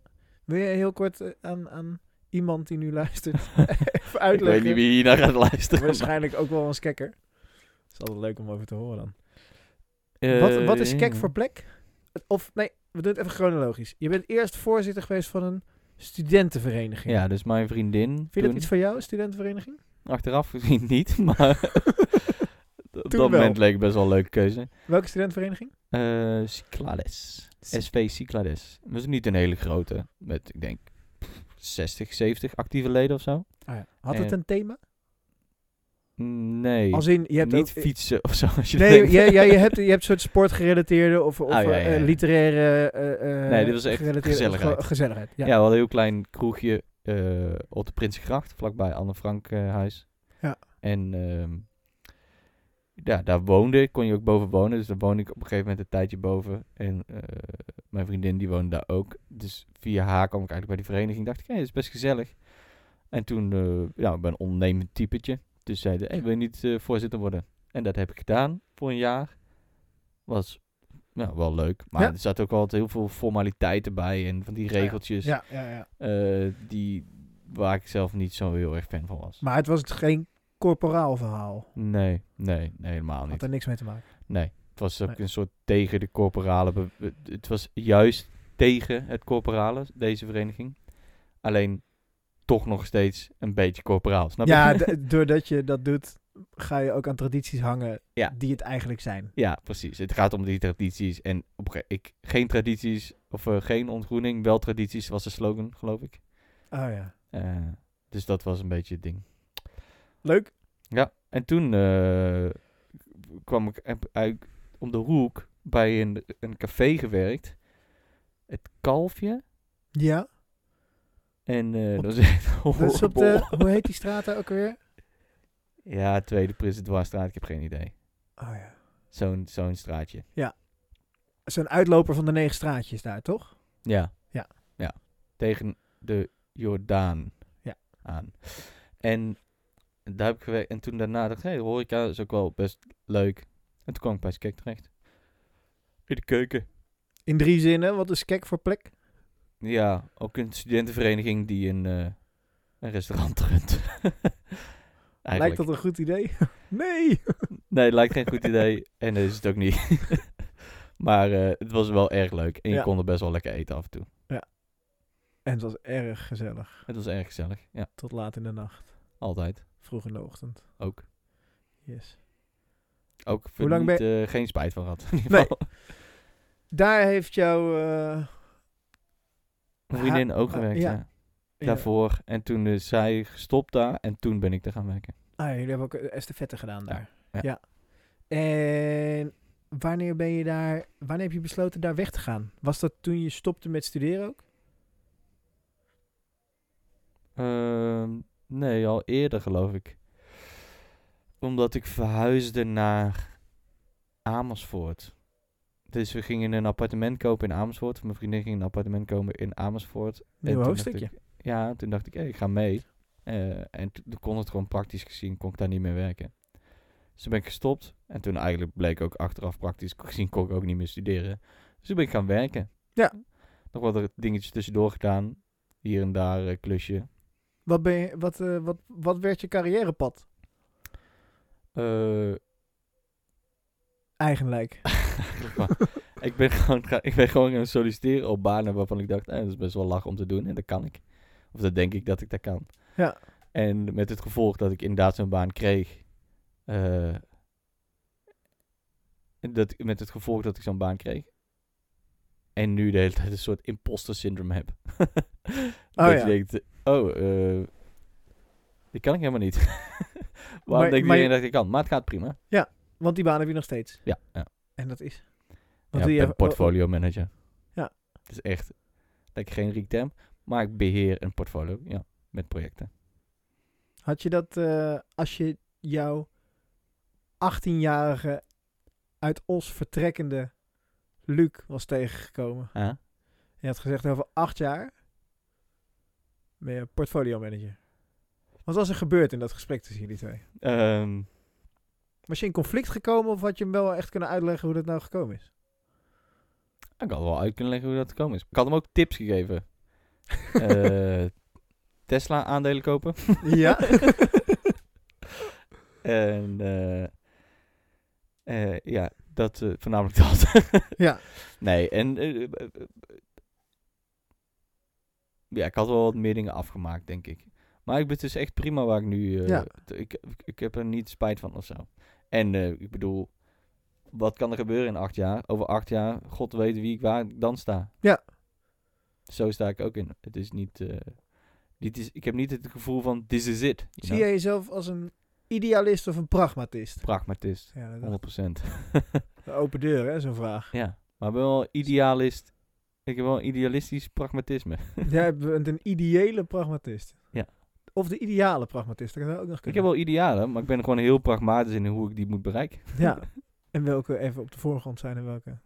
C: Wil je heel kort eh, aan, aan iemand die nu luistert even
B: ik weet
C: uitleggen?
B: niet wie hier naar gaat luisteren.
C: Waarschijnlijk ook wel een skekker. Dat is altijd leuk om over te horen dan. Wat, wat is
B: Eh,
C: kek voor plek? Of nee, we doen het even chronologisch. Je bent eerst voorzitter geweest van een studentenvereniging.
B: Ja, dus mijn vriendin.
C: Vind je dat
B: toen-
C: iets van jou, een studentenvereniging?
B: Achteraf gezien niet, maar op
C: Toen
B: dat moment
C: wel.
B: leek het best wel een leuke keuze.
C: Welke studentenvereniging?
B: Eh Cyclades. SV Cyclades. Dat is niet een hele grote, met ik denk pff, 60, 70 actieve leden of zo.
C: Ah Had het
B: Eh,
C: een thema?
B: Nee,
C: Als in, Mm, je hebt
B: niet
C: ook-
B: fietsen of zo. Als je
C: Nee,
B: denkt.
C: ja, ja, je hebt, je hebt soort sportgerelateerde of, of
B: Oh, ja,
C: eh,
B: ja, ja.
C: literaire eh, eh,
B: Nee, dit was echt
C: gerelateerde-
B: gezelligheid.
C: ge- gezelligheid,
B: Ja,
C: ja.
B: we hadden een heel klein kroegje eh, op de Prinsengracht, vlakbij Anne Frank eh, huis.
C: Ja.
B: En ehm, ja, daar woonde ik, kon je ook boven wonen. Dus daar woonde ik op een gegeven moment een tijdje boven. En eh, mijn vriendin die woonde daar ook. Dus via haar kwam ik eigenlijk bij die vereniging. Dacht ik, hé, dat is best gezellig. En toen, eh, ja, ik ben een ondernemend typetje. Dus zeiden, hey, wil je niet eh, voorzitter worden? En dat heb ik gedaan voor een jaar. Was ja, wel leuk. Maar
C: Ja.
B: er zat ook altijd heel veel formaliteiten bij. En van die
C: ja.
B: regeltjes.
C: Ja, ja, ja.
B: Eh, die, waar ik zelf niet zo heel erg fan van was.
C: Maar het was geen corporaal verhaal.
B: Nee, nee, nee, helemaal
C: Had
B: niet.
C: er niks mee te maken.
B: Nee, het was ook
C: Nee.
B: een soort tegen de corporale... be- be- Het was juist tegen het corporale, deze vereniging. Alleen toch nog steeds een beetje corporaal, snap je?
C: ja, d- doordat je dat doet, ga je ook aan tradities hangen
B: Ja.
C: die het eigenlijk zijn.
B: Ja, precies. Het gaat om die tradities. En op een ge- ik, geen tradities, of eh, geen ontgroening, wel tradities was de slogan, geloof ik.
C: Oké. Oh ja.
B: Eh, dus dat was een beetje het ding.
C: Leuk.
B: Ja, en toen eh, kwam ik heb uit om de hoek bij een, een café gewerkt. Het kalfje.
C: Ja.
B: En eh,
C: Op-
B: dat is echt
C: Dat is op
B: horrible.
C: de, hoe heet die straat daar ook alweer?
B: Ja, tweede Prins de Dwarsstraat, ik heb geen idee.
C: Oh ja.
B: Zo'n zo'n straatje.
C: Zo'n uitloper van de negen straatjes daar, toch?
B: Ja.
C: Ja.
B: Ja. Tegen de Jordaan
C: Ja.
B: aan. En daar heb ik gewerkt. En toen daarna dacht ik, hey, horeca is ook wel best leuk. En toen kwam ik bij Skek terecht. In de keuken.
C: In drie zinnen, wat is kek voor plek?
B: Ja, ook een studentenvereniging die een, eh, een restaurant runt. Eigenlijk.
C: Lijkt dat een goed idee? nee!
B: Nee, lijkt geen goed idee. En dat is het ook niet. maar eh, het was wel erg leuk. En je
C: Ja.
B: kon er best wel lekker eten af en toe.
C: En het was erg gezellig.
B: Het was erg gezellig. Ja,
C: Tot laat in de nacht.
B: altijd.
C: Vroeg in de ochtend.
B: Ook.
C: Yes.
B: Ook voor
C: Hoe lang
B: niet, eh, geen spijt van had. In ieder
C: Nee.
B: geval.
C: Daar heeft jouw... eh,
B: Mijn vriendin ook
C: Ah,
B: gewerkt,
C: ja.
B: ja. Daarvoor. En toen is zij gestopt daar. En toen ben ik er gaan werken.
C: Ah, jullie hebben ook eh, estafette gedaan
B: Ja,
C: daar.
B: ja.
C: En wanneer ben je daar... Wanneer heb je besloten daar weg te gaan? Was dat toen je stopte met studeren ook?
B: Ehm, nee, al eerder geloof ik. Omdat ik verhuisde naar Amersfoort. Dus we gingen een appartement kopen in Amersfoort. Mijn vriendin ging een appartement kopen in Amersfoort. En
C: Nieuw
B: toen
C: hoofdstukje.
B: dacht ik- ja, toen dacht ik, hé, ik ga mee. Eh, en t- toen kon het gewoon praktisch gezien, kon ik daar niet meer werken. Dus toen ben ik gestopt. En toen eigenlijk bleek ook achteraf praktisch gezien, kon ik ook niet meer studeren. Dus toen ben ik gaan werken.
C: Ja.
B: Nog wat er- dingetjes tussendoor gedaan. Hier en daar eh, klusje.
C: Wat, ben je, wat, eh, wat, wat werd je carrièrepad
B: Eh,
C: eigenlijk?
B: eigenlijk wel. ik, ben gewoon, ga- ik ben gewoon gaan solliciteren op banen waarvan ik dacht, eh, dat is best wel lach om te doen en dat kan ik. Of dat denk ik dat ik dat kan.
C: Ja.
B: En met het gevolg dat ik inderdaad zo'n baan kreeg. eh, en dat, met het gevolg dat ik zo'n baan kreeg. En nu de hele tijd een soort imposter syndrome heb. dat
C: Oh,
B: je
C: ja.
B: denkt, oh, eh die kan ik helemaal niet. Waarom
C: Maar-
B: denkt
C: maar je-
B: iedereen dat ik dat kan? Maar het gaat prima.
C: Want die baan heb je nog steeds.
B: Ja, ja.
C: En dat is...
B: Ja,
C: Wat
B: ik
C: doe
B: ben portfolio manager.
C: Ja.
B: Het is echt lekker geen riek term, maar ik beheer een portfolio, ja, met projecten.
C: Had je dat eh, als je jouw 18-jarige uit Os vertrekkende Luc was tegengekomen?
B: Ja.
C: En je had gezegd over acht jaar ben je portfolio manager. Wat was er gebeurd in dat gesprek tussen jullie twee?
B: Ehm,
C: Was je in conflict gekomen of had je hem wel echt kunnen uitleggen hoe dat nou gekomen is?
B: ik had wel uit kunnen leggen hoe dat gekomen is. Ik had hem ook tips gegeven. Eh, Tesla aandelen kopen.
C: ja.
B: En eh, eh, ja, dat eh, voornamelijk dat.
C: ja.
B: Nee, en... eh, eh, eh, ja, ik had wel wat meer dingen afgemaakt, denk ik. Maar ik ben dus echt prima waar ik nu... eh,
C: Ja.
B: t- ik, ik, ik heb er niet spijt van of zo. En eh, ik bedoel, wat kan er gebeuren in acht jaar? Over acht jaar, god weet wie ik waar dan sta.
C: Ja.
B: Zo sta ik ook in. Het is niet... eh, dit is, ik heb niet het gevoel van, this is it. you
C: Zie
B: know?
C: jij jezelf als een idealist of een pragmatist?
B: Pragmatist,
C: Ja, dat
B: 100%.
C: de open deur, hè, zo'n vraag.
B: ja, maar ik ben wel idealist. Ik heb wel een idealistisch pragmatisme.
C: Jij bent een ideële pragmatist.
B: Ja.
C: Of de ideale pragmatist, dat kan ook nog
B: Ik
C: kunnen.
B: heb wel idealen, maar ik ben gewoon heel pragmatisch in hoe ik die moet bereiken.
C: Ja. En welke even op de voorgrond zijn en welke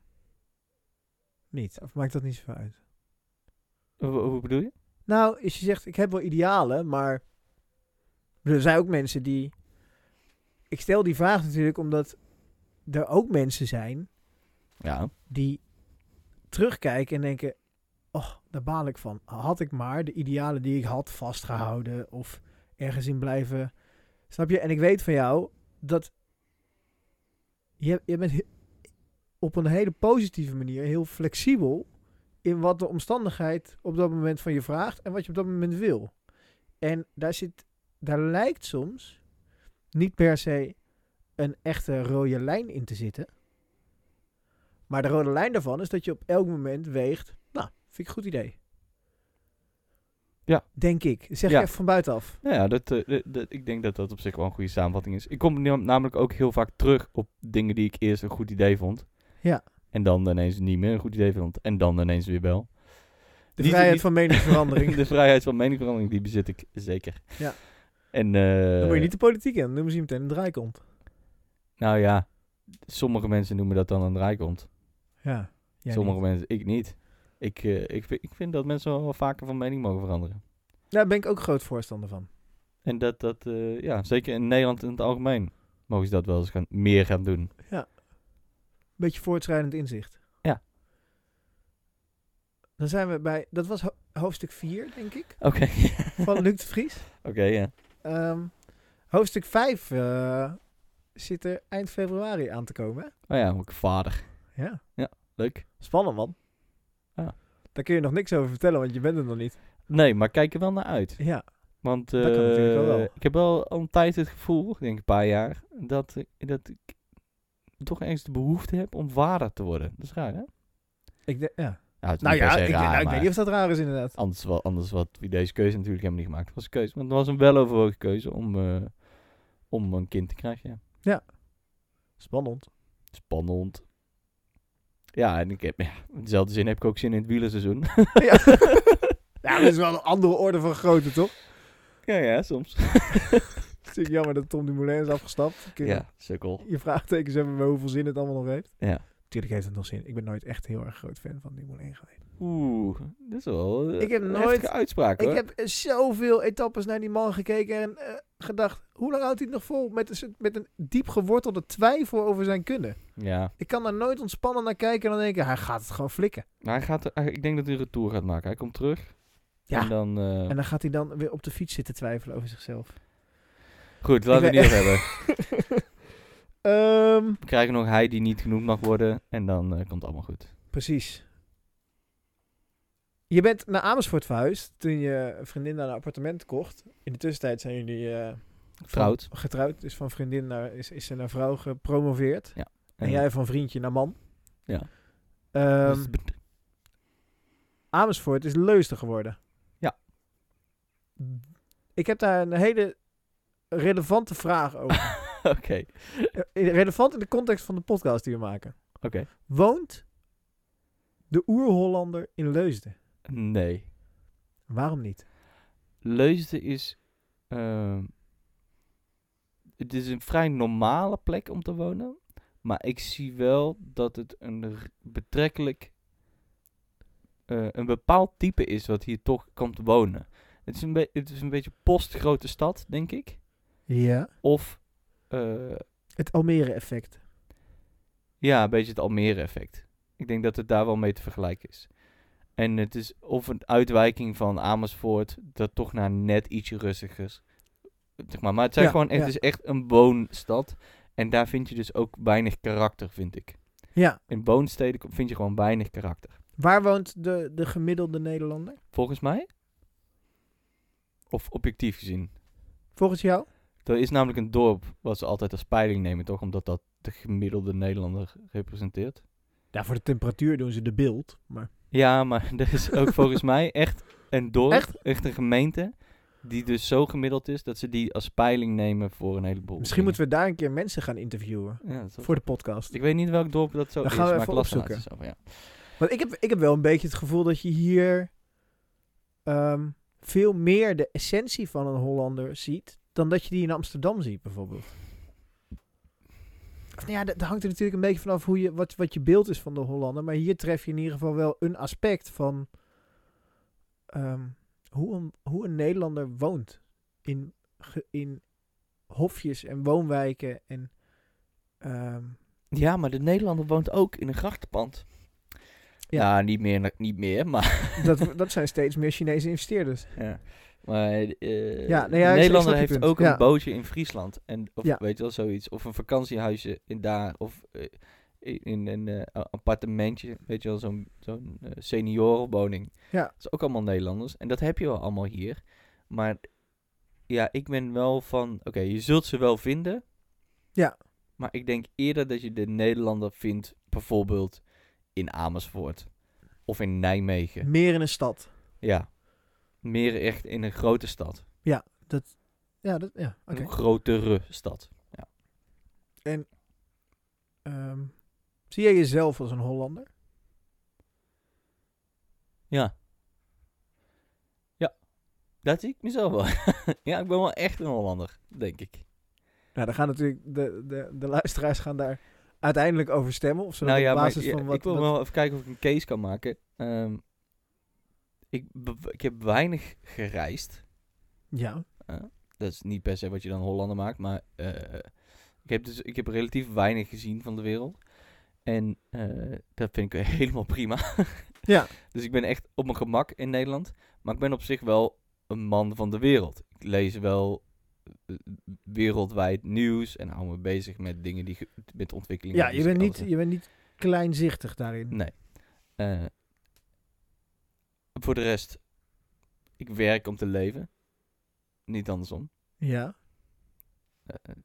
C: niet. Of maakt dat niet zoveel uit?
B: Hoe, hoe bedoel je?
C: Nou, als je zegt, ik heb wel idealen, maar er zijn ook mensen die... Ik stel die vraag natuurlijk omdat er ook mensen zijn
B: Ja.
C: die terugkijken en denken... Oh, daar baal ik van. Had ik maar de idealen die ik had vastgehouden of ergens in blijven... Snap je? En ik weet van jou dat je, je bent he- op een hele positieve manier heel flexibel in wat de omstandigheid op dat moment van je vraagt en wat je op dat moment wil. En daar zit, daar lijkt soms niet per se een echte rode lijn in te zitten. Maar de rode lijn daarvan is dat je op elk moment weegt, nou, vind ik een goed idee.
B: Ja.
C: Denk ik. Dat zeg
B: Ja.
C: ik even van buitenaf.
B: Nou ja, dat, eh, dat- dat, ik denk dat dat op zich wel een goede samenvatting is. Ik kom nam- namelijk ook heel vaak terug op dingen die ik eerst een goed idee vond.
C: Ja.
B: En dan ineens niet meer een goed idee vond. En dan ineens weer wel.
C: De
B: Niet-
C: vrijheid
B: niet- Dus,
C: van meningsverandering.
B: de vrijheid van meningsverandering, die bezit ik zeker.
C: Ja.
B: En,
C: dan
B: eh,
C: moet je niet de politiek in. Dan moet je meteen een draai komt.
B: Nou ja, sommige mensen noemen dat dan een draaikont.
C: Ja. Jij
B: sommige
C: niet.
B: mensen, ik niet. Ik, eh, ik, vind- ik vind dat mensen wel vaker van mening mogen veranderen.
C: Daar ben ik ook groot voorstander van.
B: En dat, dat eh, ja, zeker in Nederland in het algemeen, mogen ze dat wel eens gaan, meer gaan doen.
C: Beetje voortschrijdend inzicht.
B: Ja.
C: Dan zijn we bij... Dat was ho- hoofdstuk 4, denk ik.
B: Oké,
C: Van Luc de Vries.
B: oké, ja.
C: Ehm, hoofdstuk 5 eh, zit er eind februari aan te komen. hè?
B: Oh ja, ook vader.
C: Ja.
B: Leuk.
C: Spannend, man.
B: Ja.
C: Daar kun je nog niks over vertellen, want je bent er nog niet.
B: Nee, maar kijk er wel naar uit.
C: Ja.
B: Want
C: Dat kan natuurlijk wel
B: eh,
C: wel.
B: ik heb wel al een tijd het gevoel, ik denk een paar jaar, dat, ik- dat ik toch eens de behoefte heb om vader te worden. Dat is raar, hè?
C: Ik denk- ja.
B: Nou, het is
C: Nou
B: niet
C: ja,
B: per
C: ik,
B: se raar,
C: nou, ik
B: maar-
C: weet niet of dat raar is inderdaad.
B: Anders, wel, anders wat wie deze keuze natuurlijk helemaal niet gemaakt. Het was een keuze. Maar het was een weloverwogen keuze om, eh, om een kind te krijgen. Ja.
C: Spannend.
B: Spannend. Ja, en ik heb, ja, in dezelfde zin heb ik ook zin in het wielerseizoen.
C: ja. ja, dat is wel een andere orde van grootte, toch?
B: ja, ja, soms.
C: Het is natuurlijk jammer dat Tom Dumoulin is afgestapt. Ik-
B: Ja, sukkel.
C: Je vraagtekens hebben we hoeveel zin het allemaal nog heeft.
B: Ja.
C: Tuurlijk heeft het nog zin. Ik ben nooit echt heel erg groot fan van Dumoulin geweest.
B: Oeh, dat is wel eh,
C: Ik heb
B: een
C: nooit-
B: heftige uitspraak hoor.
C: Ik heb eh, zoveel etappes naar die man gekeken en eh, gedacht... Hoe lang houdt hij het nog vol? Met een, soort- met een diep gewortelde twijfel over zijn kunnen.
B: Ja,
C: Ik kan daar nooit ontspannen naar kijken en dan denk ik... Hij gaat het gewoon flikken.
B: maar hij gaat, er- hij- ik denk dat hij een retour gaat maken. Hij komt terug.
C: Ja.
B: En dan, eh,
C: En dan gaat hij dan weer op de fiets zitten twijfelen over zichzelf.
B: goed, laten
C: Ik
B: we
C: ben-
B: het niet over hebben.
C: Ehm,
B: We krijgen nog hij die niet genoemd mag worden. En dan eh, komt het allemaal goed.
C: precies. Je bent naar Amersfoort verhuisd toen je een vriendin naar een appartement kocht. In de tussentijd zijn jullie eh,
B: Getrouwd.
C: van- getrouwd. Dus van vriendin naar, is, is ze naar vrouw gepromoveerd. En jij van vriendje naar man.
B: Ja.
C: Ehm,
B: Dus-
C: Amersfoort is Leusden geworden.
B: Ja.
C: Ik heb daar een hele relevante vraag over.
B: Oké,
C: Eh, Relevant in de context van de podcast die we maken.
B: oké.
C: Woont de oer-Hollander in Leusden?
B: Nee.
C: Waarom niet?
B: Leusden is. ehm, het is een vrij normale plek om te wonen. Maar ik zie wel dat het een r- betrekkelijk. eh, een bepaald type is wat hier toch komt wonen. Het is een, be- het is een beetje postgrote stad, denk ik.
C: Ja.
B: Of. eh,
C: Het Almere-effect.
B: ja, een beetje het Almere-effect. Ik denk dat het daar wel mee te vergelijken is. En het is of een uitwijking van Amersfoort, dat toch naar net ietsje rustiger is. Zeg maar. maar het, zijn
C: Ja,
B: gewoon echt,
C: ja.
B: het is echt een woonstad. En daar vind je dus ook weinig karakter, vind ik.
C: Ja.
B: In woonsteden ko- vind je gewoon weinig karakter.
C: Waar woont de, de gemiddelde Nederlander?
B: Volgens mij. Of objectief gezien.
C: Volgens jou?
B: Er is namelijk een dorp wat ze altijd als peiling nemen, toch? Omdat dat de gemiddelde Nederlander representeert.
C: Ja, voor de temperatuur doen ze de beeld. Maar...
B: Ja, maar er is ook volgens mij echt een dorp,
C: Echt?
B: echt? een gemeente, die dus zo gemiddeld is dat ze die als peiling nemen voor een heleboel.
C: Misschien moeten we daar een keer mensen gaan interviewen.
B: we. Ja, dat is ook-
C: Voor de podcast.
B: Ik weet niet welk dorp dat zo
C: Dan
B: is,
C: gaan we
B: maar
C: even
B: ik las er
C: opzoeken.
B: laatst eens over, ja.
C: Want ik heb, ik heb wel een beetje het gevoel dat je hier ehm, veel meer de essentie van een Hollander ziet. dan dat je die in Amsterdam ziet, bijvoorbeeld. Of nou ja, dat, dat hangt er natuurlijk een beetje vanaf hoe je, wat, wat je beeld is van de Hollander. Maar hier tref je in ieder geval wel een aspect van. ehm, hoe, een, hoe een Nederlander woont. In, ge- in hofjes en woonwijken en. ehm,
B: Ja, maar de Nederlander woont ook in een grachtenpand.
C: Ja.
B: Ja, niet, meer, niet meer, maar...
C: dat, dat zijn steeds meer Chinese investeerders.
B: Ja. Maar eh,
C: Ja, nou ja,
B: de
C: ik- ik snap
B: Nederlander
C: je
B: heeft
C: punt.
B: ook
C: Ja.
B: een bootje in Friesland. En, of
C: Ja.
B: weet je wel, zoiets. Of een vakantiehuisje in daar. Of eh, in in een eh, a- appartementje. Weet je wel, zo'n zo'n eh, seniorenwoning.
C: Ja.
B: Dat is ook allemaal Nederlanders. En dat heb je wel allemaal hier. Maar ja, ik ben wel van... Oké, je zult ze wel vinden.
C: Ja.
B: Maar ik denk eerder dat je de Nederlander vindt... Bijvoorbeeld in Amersfoort. Of in Nijmegen.
C: Meer in een stad.
B: Ja. meer echt in een grote stad.
C: Ja, dat, ja oké.
B: Een grotere stad.
C: Ehm, zie jij jezelf als een Hollander?
B: Ja. Ja. Dat zie ik mezelf wel. ja, ik ben wel echt een Hollander, denk ik.
C: Nou, dan gaan natuurlijk de, de, de luisteraars gaan daar uiteindelijk over stemmen. Of ze dat
B: nou ja,
C: op
B: maar
C: basis
B: ja,
C: van wat...
B: ik wil
C: wat-
B: wel even kijken of ik een case kan maken. Ehm, ik, be- ik heb weinig gereisd.
C: Ja,
B: Dat is niet per se wat je dan Hollander maakt, maar eh, ik, heb dus, ik heb relatief weinig gezien van de wereld. En eh, dat vind ik helemaal prima.
C: Ja.
B: Dus ik ben echt op mijn gemak in Nederland. Maar ik ben op zich wel een man van de wereld. Ik lees wel eh, wereldwijd nieuws en hou me bezig met dingen die ge- met ontwikkeling.
C: ja je, bent niet, je bent niet kleinzichtig daarin.
B: Nee. Eh, voor de rest, ik werk om te leven. Niet andersom.
C: Ja,
B: Eh,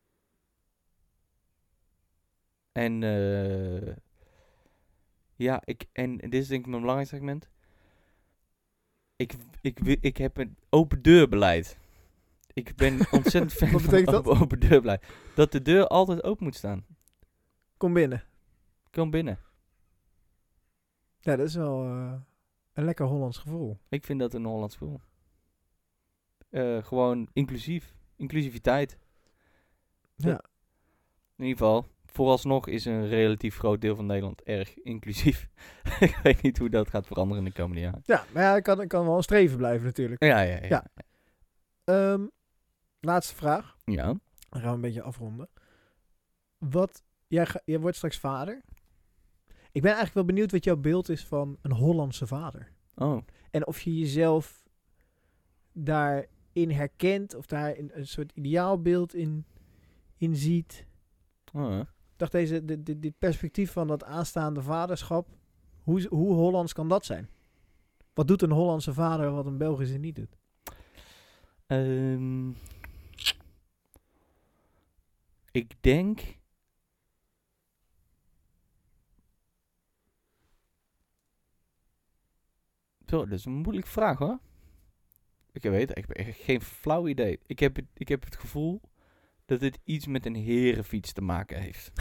B: en eh, ja, ik, en dit is denk ik mijn belangrijkste segment. Ik, ik, wi- ik heb een open deur beleid. Ik ben ontzettend fan
C: Wat betekent
B: van
C: dat?
B: open, open deur beleid. Dat de deur altijd open moet staan.
C: kom binnen.
B: Kom binnen.
C: Ja, dat is wel eh, een lekker Hollands gevoel.
B: Ik vind dat een Hollands gevoel. Eh, gewoon inclusief. Inclusiviteit.
C: Ja.
B: In ieder geval, vooralsnog is een relatief groot deel van Nederland erg inclusief. ik weet niet hoe dat gaat veranderen in de komende jaren.
C: Ja, maar ja, ik kan, ik kan wel een streven blijven natuurlijk.
B: Ja, ja, ja.
C: Ja. Ehm, laatste vraag.
B: Ja.
C: Dan gaan we een beetje afronden. Wat, jij, ga- jij wordt straks vader. Ik ben eigenlijk wel benieuwd wat jouw beeld is van een Hollandse vader.
B: Oh.
C: En of je jezelf daarin herkent of daar een, een soort ideaalbeeld in, in ziet.
B: oh ja.
C: Ik dacht, deze, dit, dit, dit perspectief van dat aanstaande vaderschap, hoe, z- hoe Hollands kan dat zijn? Wat doet een Hollandse vader wat een Belgische niet doet?
B: Ehm, ik denk. Zo, dat is een moeilijke vraag hoor. Ik weet het, ik heb echt geen flauw idee. Ik heb, het- ik heb het gevoel dat dit iets met een herenfiets te maken heeft.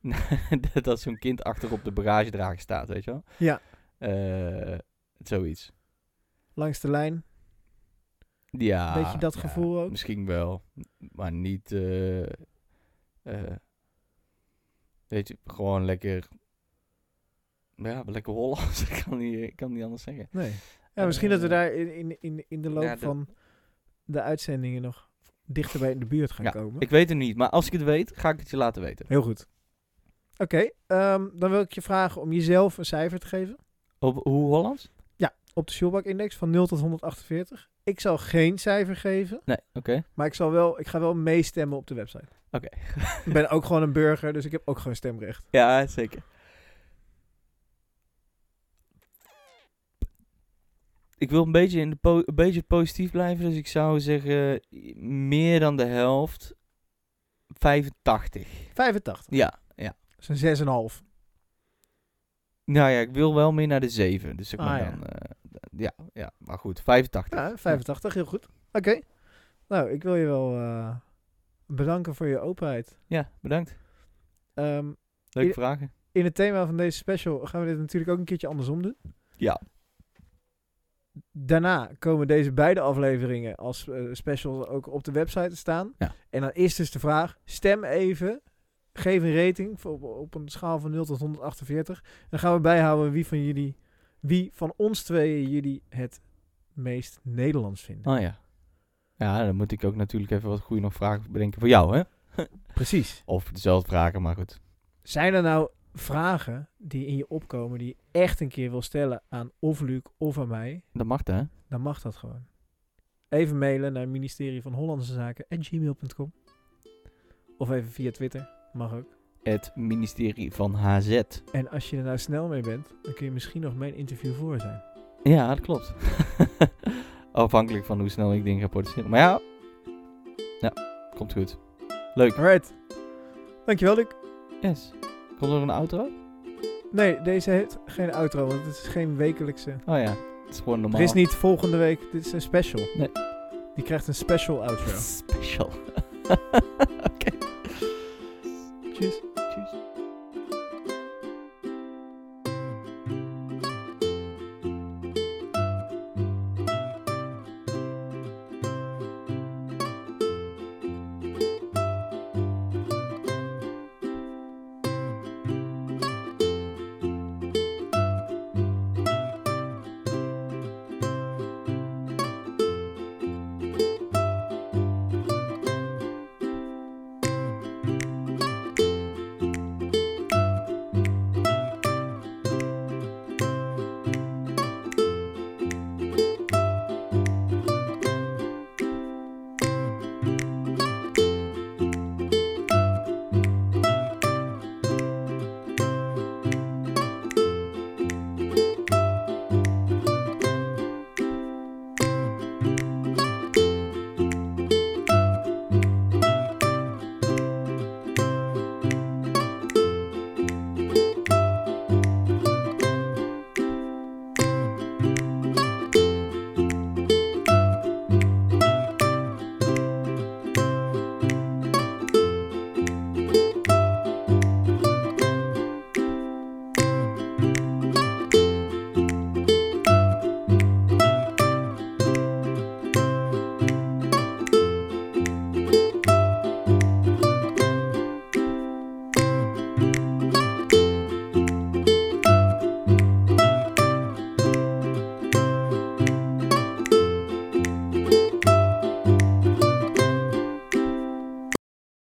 B: dat dat zo'n kind achter op de bagagedrager staat, weet je wel?
C: Ja.
B: Eh, zoiets.
C: Langs de lijn.
B: Ja.
C: Beetje dat
B: ja,
C: gevoel ook?
B: Misschien wel, maar niet. eh, eh, weet je, gewoon lekker. Ja, lekker Hollands. Ik kan niet, ik kan niet anders zeggen.
C: Nee. Ja, misschien dat we
B: Eh,
C: daar in, in, in, in de loop
B: ja, dat-
C: van de uitzendingen nog dichter bij in de buurt gaan
B: Ja,
C: komen.
B: Ik weet het niet, maar als ik het weet, ga ik het je laten weten.
C: Heel goed. Oké, ehm, dan wil ik je vragen om jezelf een cijfer te geven
B: Op, hoe Hollands?
C: op de Schulbach-index van 0 tot 148. Ik zal geen cijfer geven,
B: Nee, oké.
C: maar ik, zal wel, ik ga wel meestemmen op de website.
B: Oké.
C: ik ben ook gewoon een burger, dus ik heb ook gewoon stemrecht.
B: Ja, zeker. Ik wil een beetje, in de po- een beetje positief blijven, dus ik zou zeggen i- meer dan de helft. 85.
C: 85.
B: Ja, ja.
C: Dat is een 6,5.
B: Nou ja, ik wil wel meer naar de 7. Dus ik
C: Ah,
B: maar
C: ja.
B: dan. eh, d- ja, ja, maar goed, 85.
C: Ja, 85, heel goed. Oké. Nou, ik wil je wel eh, bedanken voor je openheid.
B: Ja, bedankt.
C: Ehm,
B: Leuke
C: I-
B: vragen.
C: in het thema van deze special gaan we dit natuurlijk ook een keertje andersom doen.
B: Ja.
C: Daarna komen deze beide afleveringen als eh, special ook op de website te staan.
B: Ja.
C: En dan is dus de vraag, stem even, geef een rating voor- op, op een schaal van 0 tot 148. Dan gaan we bijhouden wie van jullie, wie van ons tweeën jullie het meest Nederlands vinden.
B: Oh ja. Ja, dan moet ik ook natuurlijk even wat goede nog vragen bedenken voor jou, hè?
C: Precies.
B: Of dezelfde vragen, maar goed.
C: Zijn er nou vragen die in je opkomen die je echt een keer wil stellen aan of Luc of aan mij?
B: Dat mag, hè?
C: Dan mag dat gewoon. Even mailen naar ministerie van Hollandse Zaken gmail.com. Of even via Twitter, mag ook.
B: Het ministerie van HZ.
C: En als je er nou snel mee bent, dan kun je misschien nog mijn interview voor zijn.
B: Ja, dat klopt. Afhankelijk van hoe snel ik dingen ga produceren. Maar ja. Ja, komt goed. Leuk.
C: Alright. Dankjewel, Luc.
B: Yes. Komt er een outro?
C: Nee, deze heeft geen outro, want het is geen wekelijkse.
B: Oh ja. is gewoon normaal.
C: Er is niet volgende week, dit is een special.
B: Nee.
C: Die krijgt een special outro.
B: special.
C: Tjus.